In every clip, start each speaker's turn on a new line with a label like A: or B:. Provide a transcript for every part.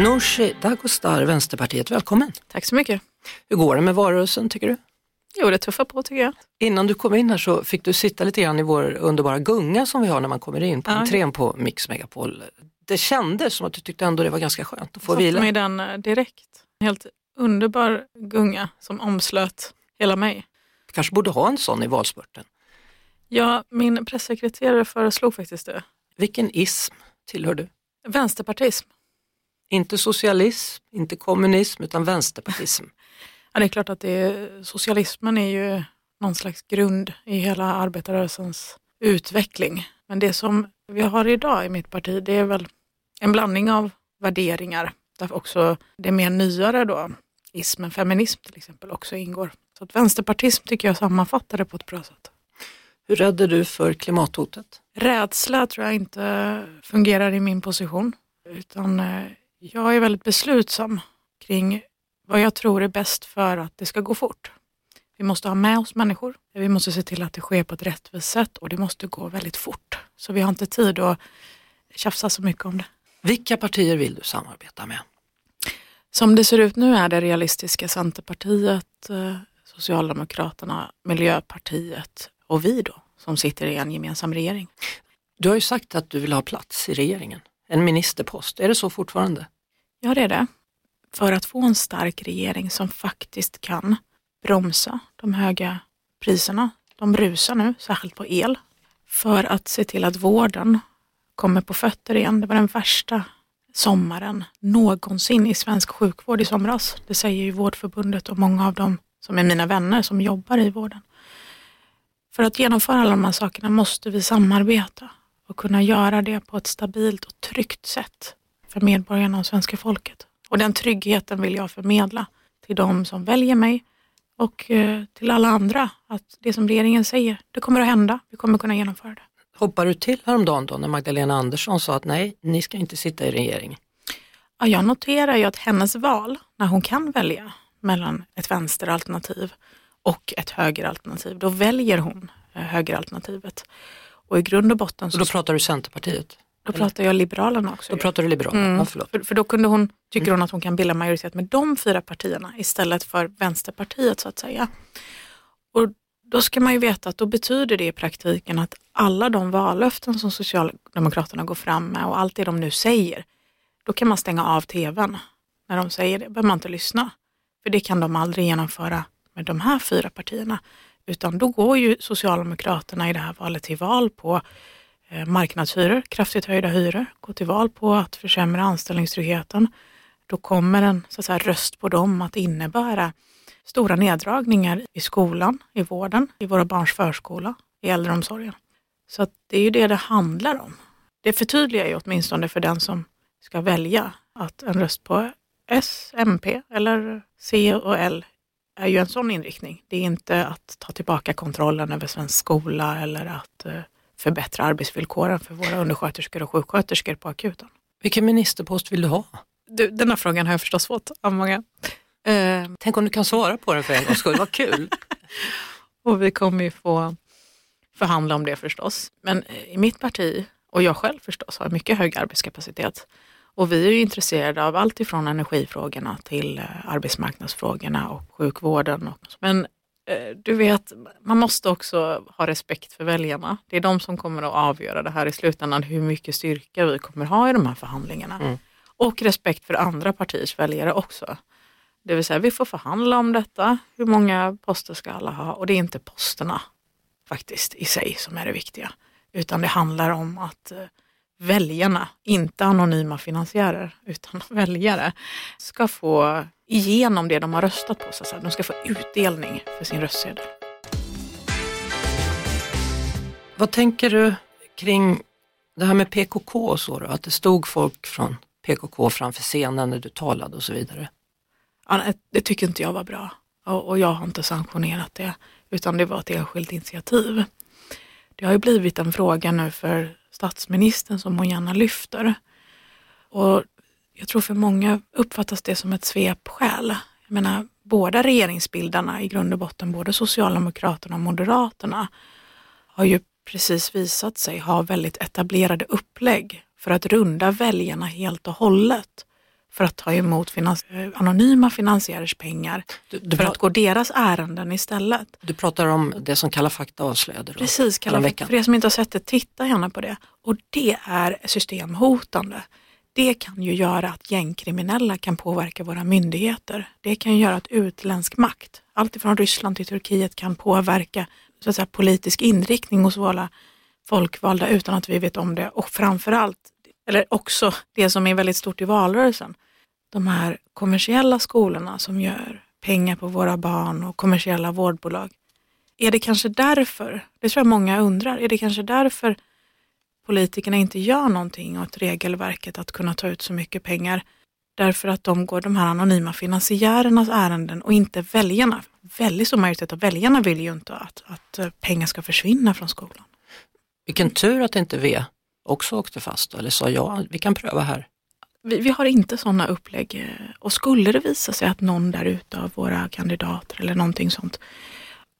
A: Nooshi Dagostar, Vänsterpartiet, välkommen.
B: Tack så mycket.
A: Hur går det med valrörelsen tycker du?
B: Jo, det tuffar på tycker jag.
A: Innan du kom in här så fick du sitta lite grann i vår underbara gunga som vi har när man kommer in på
B: Ja.
A: entrén på Mix Megapol. Det kändes som att du tyckte ändå det var ganska skönt att få
B: Satte mig
A: vila.
B: i den eh, direkt. En helt underbar gunga som omslöt hela mig.
A: kanske borde ha en sån i valspurten.
B: Ja, min pressekreterare föreslog faktiskt det.
A: Vilken ism tillhör du?
B: Vänsterpartism.
A: Inte socialism, inte kommunism utan vänsterpartism.
B: Ja, det är klart att det är, socialismen är ju någon slags grund i hela arbetarrörelsens utveckling. Men det som vi har idag i mitt parti, det är väl en blandning av värderingar. Där också det mer nyare då, ismen feminism till exempel, också ingår. Så att vänsterpartism tycker jag sammanfattar det på ett bra sätt.
A: Hur rädd är du för klimathotet?
B: Rädsla tror jag inte fungerar i min position. Utan eh, jag är väldigt beslutsam kring vad jag tror är bäst för att det ska gå fort. Vi måste ha med oss människor. Vi måste se till att det sker på ett rättvist sätt och det måste gå väldigt fort. Så vi har inte tid att tjafsa så mycket om det.
A: Vilka partier vill du samarbeta med?
B: Som det ser ut nu är det Realistiska Centerpartiet, eh, Socialdemokraterna, Miljöpartiet och vi då som sitter i en gemensam regering.
A: Du har ju sagt att du vill ha plats i regeringen, en ministerpost. Är det så fortfarande?
B: Ja, det är det. För att få en stark regering som faktiskt kan bromsa de höga priserna. De rusar nu, särskilt på el. För att se till att vården kommer på fötter igen. Det var den värsta sommaren någonsin i svensk sjukvård i somras. Det säger ju Vårdförbundet och många av dem som är mina vänner som jobbar i vården. För att genomföra alla de här sakerna måste vi samarbeta och kunna göra det på ett stabilt och tryggt sätt för medborgarna och svenska folket. Och den tryggheten vill jag förmedla till de som väljer mig och eh, till alla andra att det som regeringen säger, det kommer att hända. Vi kommer kunna genomföra det.
A: Hoppar du till häromdagen då när Magdalena Andersson sa att nej, ni ska inte sitta i regeringen?
B: Ja, jag noterar ju att hennes val, när hon kan välja mellan ett vänsteralternativ och ett högeralternativ, då väljer hon eh, högeralternativet. Och i grund och botten
A: Så
B: så
A: då pratar du Centerpartiet?
B: då pratar jag Liberalerna också.
A: Då
B: ju. Mm.
A: pratar du Liberalerna? Ja, förlåt. Mm.
B: För, för då kunde hon, tycker hon att hon kan bilda majoritet med de fyra partierna istället för Vänsterpartiet så att säga. Och då ska man ju veta att då betyder det i praktiken att alla de vallöften som Socialdemokraterna går fram med och allt det de nu säger, då kan man stänga av tvn. När de säger det behöver man inte lyssna. För det kan de aldrig genomföra med de här fyra partierna. Utan då går ju Socialdemokraterna i det här valet till val på eh, marknadshyror, kraftigt höjda hyror, gå till val på att försämra anställningstryggheten, då kommer en så att säga, röst på dem att innebära stora neddragningar i skolan, i vården, i våra barns förskola, i äldreomsorgen. Så att det är ju det det handlar om. Det förtydligar ju åtminstone för den som ska välja att en röst på S, MP eller C och L är ju en sån inriktning. Det är inte att ta tillbaka kontrollen över svensk skola eller att eh, förbättra arbetsvillkoren för våra undersköterskor och sjuksköterskor på akuten.
A: Vilken ministerpost vill du ha?
B: Du, den här frågan har jag förstås fått av många. Eh,
A: Tänk om du kan svara på den för en gångs skull, vad kul!
B: och vi kommer ju få förhandla om det förstås. Men eh, i mitt parti, och jag själv förstås, har mycket hög arbetskapacitet. Och vi är ju intresserade av allt ifrån energifrågorna till eh, arbetsmarknadsfrågorna och sjukvården. Och så. Men eh, du vet, man måste också ha respekt för väljarna. Det är de som kommer att avgöra det här i slutändan, hur mycket styrka vi kommer ha i de här förhandlingarna.
A: Mm.
B: Och respekt för andra partiers väljare också. Det vill säga vi får förhandla om detta. Hur många poster ska alla ha? Och det är inte posterna faktiskt i sig som är det viktiga. Utan det handlar om att eh, väljarna, inte anonyma finansiärer, utan väljare, ska få igenom det de har röstat på. Så att säga. de ska få utdelning för sin röstsedel.
A: Vad tänker du kring det här med PKK och så då? Att det stod folk från PKK framför scenen när du talade och så vidare.
B: Ja, nej, det tycker inte jag var bra och, och jag har inte sanktionerat det utan det var ett enskilt initiativ. Det har ju blivit en fråga nu för statsministern som hon gärna lyfter. Och jag tror för många uppfattas det som ett svepskäl. Jag menar, båda regeringsbildarna i grund och botten, både Socialdemokraterna och Moderaterna, har ju precis visat sig ha väldigt etablerade upplägg för att runda väljarna helt och hållet för att ta emot finans eh, anonyma finansiärers pengar
A: Du- du
B: för
A: pra-
B: att gå deras ärenden istället.
A: Du pratar om det som Kalla fakta avslöjade då,
B: Precis, Kalla
A: häromveckan.
B: för er som inte har sett det, titta gärna på det. Och det är systemhotande. Det kan ju göra att gängkriminella kan påverka våra myndigheter. Det kan ju göra att utländsk makt, alltifrån Ryssland till Turkiet, kan påverka så att säga, politisk inriktning hos våra folkvalda utan att vi vet om det. Och framförallt, eller också det som är väldigt stort i valrörelsen, de här kommersiella skolorna som gör pengar på våra barn och kommersiella vårdbolag. Är det kanske därför, det tror jag många undrar, är det kanske därför politikerna inte gör någonting åt regelverket att kunna ta ut så mycket pengar? Därför att de går de här anonyma finansiärernas ärenden och inte väljarna. Väldigt stor majoritet av väljarna vill ju inte att, att eh, pengar ska försvinna från skolan.
A: Vilken tur att inte vi också åkte fast då, eller sa ja, vi kan pröva här.
B: Vi, vi har inte sådana upplägg eh, och skulle det visa sig att någon där ute av våra kandidater eller någonting sånt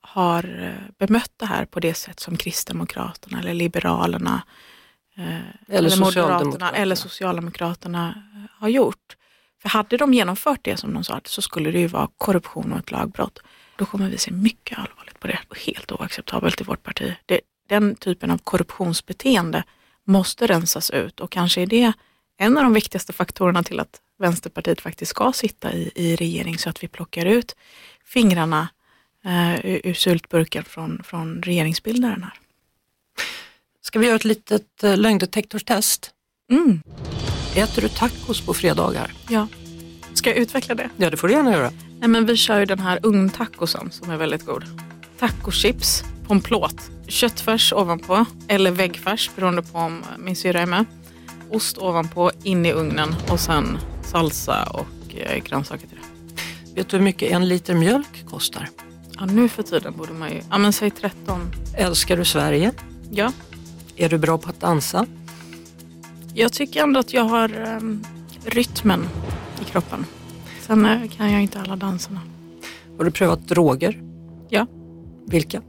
B: har eh, bemött det här på det sätt som Kristdemokraterna eller Liberalerna
A: Eller,
B: Moderaterna eller Socialdemokraterna eh, har gjort. För hade de genomfört det som de sa så skulle det ju vara korruption och ett lagbrott. Då kommer vi se mycket allvarligt på det. Och Helt oacceptabelt i vårt parti. Det, den typen av korruptionsbeteende måste rensas ut och kanske är det en av de viktigaste faktorerna till att Vänsterpartiet faktiskt ska sitta i, i regering så att vi plockar ut fingrarna eh, ur, ur syltburken från, från regeringsbildaren här.
A: Ska vi göra ett litet eh, lögndetektorstest?
B: Mm,
A: Äter du tacos på fredagar?
B: ja. Ska jag utveckla det?
A: Ja, det får du gärna göra.
B: Nej men vi kör ju den här ugntacosen som är väldigt god. Tacochips på en plåt. Köttfärs ovanpå eller väggfärs beroende på om min syrra är med. Ost ovanpå, in i ugnen och sen salsa och eh, grönsaker till det.
A: Vet du hur mycket en liter mjölk kostar?
B: Ja nu för tiden borde man ju, ja men säg 13.
A: Älskar du Sverige?
B: Ja,
A: Är du bra på att dansa?
B: jag tycker ändå att jag har ehm, rytmen i kroppen. Sen eh, kan jag inte alla danserna.
A: Har du prövat droger?
B: Ja.
A: Vilka?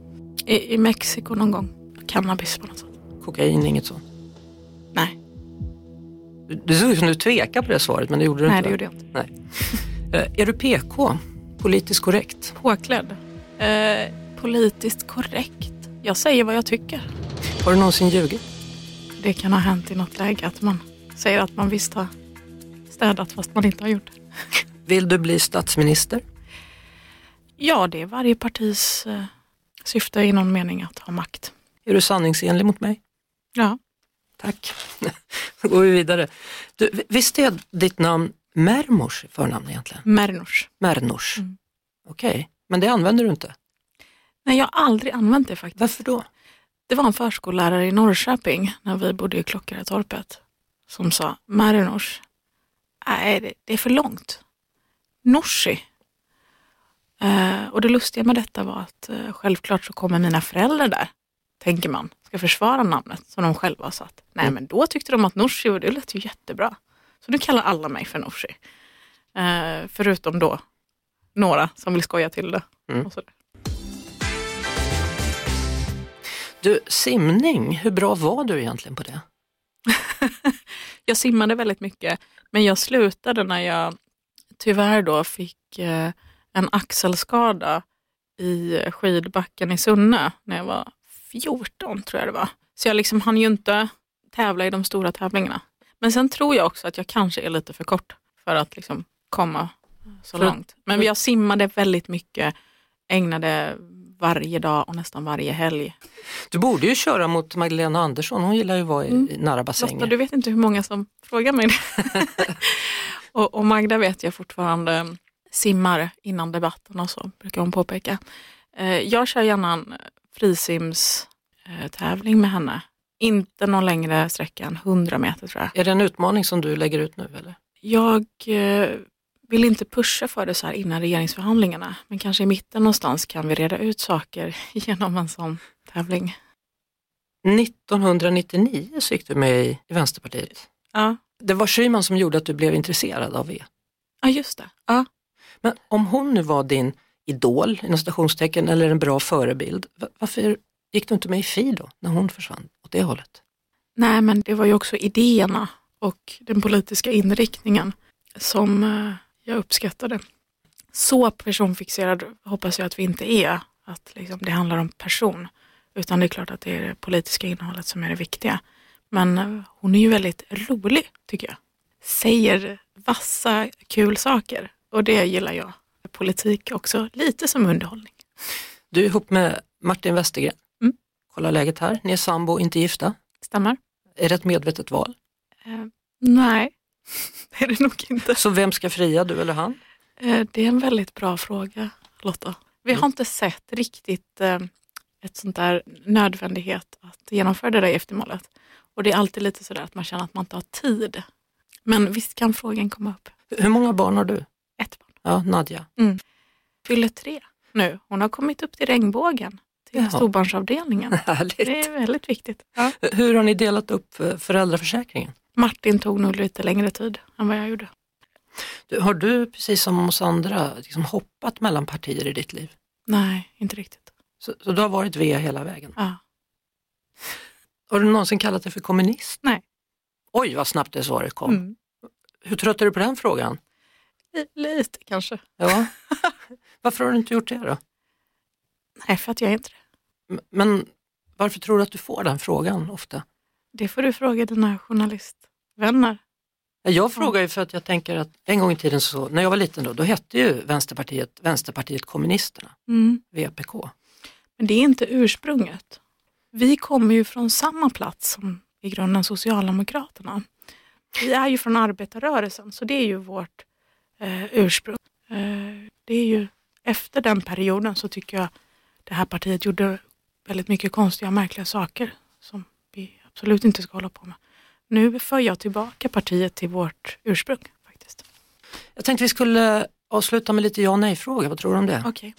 B: I, i Mexiko någon gång. Cannabis på något sätt.
A: Kokain, inget sånt.
B: Nej,
A: Det såg ut som du tvekade på det svaret, men det gjorde du
B: nej
A: inte.
B: det
A: va?
B: gjorde jag inte.
A: Eh, Är du PK? Politiskt korrekt?
B: Påklädd? Eh, politiskt korrekt. Jag säger vad jag tycker.
A: Har du någonsin ljugit?
B: Det kan ha hänt i något läge att man säger att man visst har städat fast man inte har gjort det.
A: Vill du bli statsminister?
B: Ja, det är varje partis eh, syfte i någon mening att ha makt.
A: Är du sanningsenlig mot mig?
B: Ja.
A: Tack. Då går vi vidare. Du, vi- visst är ditt namn Mermors i förnamn egentligen?
B: Mernors.
A: Mernors.
B: Mm.
A: Okej, men det använder du inte.
B: Nej, jag har aldrig använt det faktiskt.
A: Varför då?
B: Det var en förskollärare i Norrköping när vi bodde i Klockaretorpet som sa Marinors. Nej, det- det är för långt. Norsi. Eh, och det lustiga med detta var att eh, självklart så kommer mina föräldrar där, tänker man, ska försvara namnet som de själva har satt. Nej, men då tyckte de att Norsi och det lät ju jättebra. Så nu kallar alla mig för Norsi. Eh, förutom då några som vill skoja till det.
A: Mm.
B: Och sådär.
A: Du, simning, hur bra var du egentligen på det?
B: jag simmade väldigt mycket, men jag slutade när jag tyvärr då fick eh, en axelskada i skidbacken i Sunne när jag var 14 tror jag det var. Så jag liksom hann ju inte tävla i de stora tävlingarna. Men sen tror jag också att jag kanske är lite för kort för att liksom komma så
A: För-
B: långt. Men
A: för-
B: jag simmade väldigt mycket, ägnade varje dag och nästan varje helg
A: Du borde ju köra mot Magdalena Andersson, hon gillar ju att vara i, i nära
B: Lotta,
A: bassänger.
B: Mm. du vet inte hur många som frågar mig det. och, och Magda vet jag fortfarande simmar innan debatten och så, brukar hon påpeka. Eh, jag kör gärna en frisimstävling tävling med henne. Inte någon längre sträcka än 100 meter tror jag.
A: Är det en utmaning som du lägger ut nu eller?
B: Jag eh, vill inte pusha för det så här innan regeringsförhandlingarna, men kanske i mitten någonstans kan vi reda ut saker genom en sån tävling.
A: 1999 så gick du med i, i Vänsterpartiet.
B: Ja,
A: Det var Schyman som gjorde att du blev intresserad av V.
B: ja just det. Ja.
A: Men om hon nu var din idol, inom citationstecken, eller en bra förebild, va- varför gick du inte med i Fi då, när hon försvann åt det hållet?
B: Nej, men det var ju också idéerna och den politiska inriktningen som eh, jag uppskattade. Så personfixerad hoppas jag att vi inte är, att liksom det handlar om person. Utan det är klart att det är det politiska innehållet som är det viktiga. Men eh, hon är ju väldigt rolig, tycker jag. Säger vassa, kul saker. Och det gillar jag. Politik också, lite som underhållning.
A: Du är ihop med Martin Westergren.
B: Mm.
A: Kolla läget här, ni är sambo, inte gifta.
B: Stämmer?
A: Är det ett medvetet val?
B: Eh, nej, det är det nog inte.
A: Så vem ska fria, du eller han?
B: Eh, Det är en väldigt bra fråga, Lotta. Vi har inte sett riktigt eh, ett sånt där nödvändighet att genomföra det där eftermålet. Och det är alltid lite sådär att man känner att man inte har tid. Men visst kan frågan komma upp.
A: Hur många barn har du?
B: Ett barn
A: Ja, Nadja.
B: fyller tre nu. Hon har kommit upp till regnbågen, till
A: Jaha.
B: storbarnsavdelningen. Det
A: Härligt.
B: är väldigt viktigt.
A: Hur har ni delat upp eh, föräldraförsäkringen?
B: Martin tog nog lite längre tid än vad jag gjorde.
A: Du, har du, precis som oss andra, liksom hoppat mellan partier i ditt liv?
B: Nej, inte riktigt.
A: Så, så du har varit V hela vägen?
B: Ja.
A: Har du någonsin kallat dig för kommunist?
B: Nej.
A: Oj, vad snabbt det svaret kom.
B: Mm.
A: Hur trött är du på den frågan?
B: Li- Lite kanske.
A: Ja. varför har du inte gjort det då?
B: Nej, för att jag är inte det.
A: M- Men varför tror du att du får den frågan ofta?
B: Det får du fråga dina journalistvänner.
A: Ja, Jag frågar ju för att jag tänker att en gång i tiden, så, när jag var liten då, då hette ju Vänsterpartiet Vänsterpartiet kommunisterna,
B: Mm.
A: VPK.
B: Men det är inte ursprunget. Vi kommer ju från samma plats som i grunden Socialdemokraterna. Vi är ju från arbetarrörelsen, så det är ju vårt eh, ursprung. Eh, det är ju efter den perioden så tycker jag det här partiet gjorde väldigt mycket konstiga och märkliga saker som vi absolut inte ska hålla på med. Nu för jag tillbaka partiet till vårt ursprung faktiskt.
A: Jag tänkte vi skulle avsluta med lite ja och nej-fråga, vad tror du om det?
B: Okej.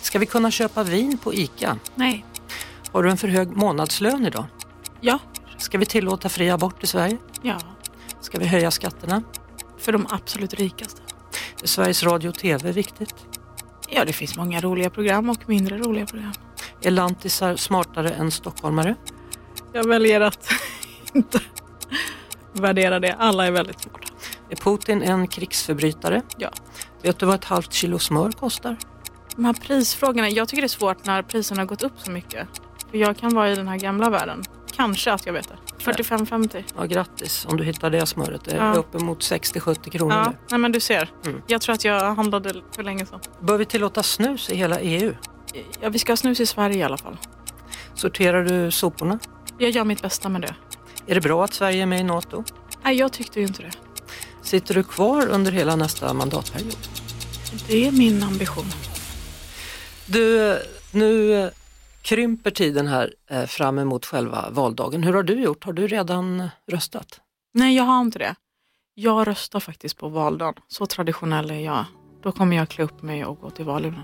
A: Ska vi kunna köpa vin på ICA?
B: Nej.
A: Har du en för hög månadslön idag?
B: Ja.
A: Ska vi tillåta fri abort i Sverige?
B: Ja.
A: Ska vi höja skatterna?
B: För de absolut rikaste.
A: Är Sveriges Radio och TV viktigt?
B: Ja, det finns många roliga program och mindre roliga program.
A: Är lantisar smartare än stockholmare?
B: Jag väljer att inte värdera det. Alla är väldigt smarta.
A: Är Putin en krigsförbrytare?
B: Ja.
A: Vet du vad ett halvt kilo smör kostar?
B: De här prisfrågorna, jag tycker det är svårt när priserna har gått upp så mycket. För jag kan vara i den här gamla världen. Kanske att jag vet det. 45-50.
A: Ja, grattis om du hittar det smöret. Det är
B: Ja.
A: uppemot 60-70 kronor.
B: Ja, nej men du ser.
A: Mm.
B: Jag tror att jag handlade för länge sedan.
A: Bör vi tillåta snus i hela E EU?
B: Ja, vi ska ha snus i Sverige i alla fall.
A: Sorterar du soporna?
B: Jag gör mitt bästa med det.
A: Är det bra att Sverige är med i NATO?
B: Nej, jag tyckte ju inte det.
A: Sitter du kvar under hela nästa mandatperiod?
B: Det är min ambition.
A: Du, nu eh, krymper tiden här eh, fram emot själva valdagen. Hur har du gjort? Har du redan röstat?
B: Nej, jag har inte det. Jag röstar faktiskt på valdagen. Så traditionell är jag. Då kommer jag klä upp mig och gå till valurnan.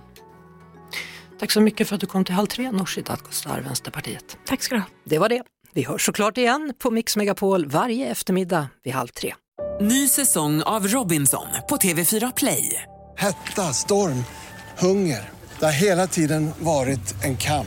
A: Tack så mycket för att du kom till Halv tre, Nooshi Dadgostar, Vänsterpartiet.
B: Tack ska du ha.
C: Det var det. Vi hörs såklart igen på Mix Megapol varje eftermiddag vid halv tre.
D: Ny säsong av Robinson på TV4 Play.
E: Hetta, storm, hunger. Det har hela tiden varit en kamp.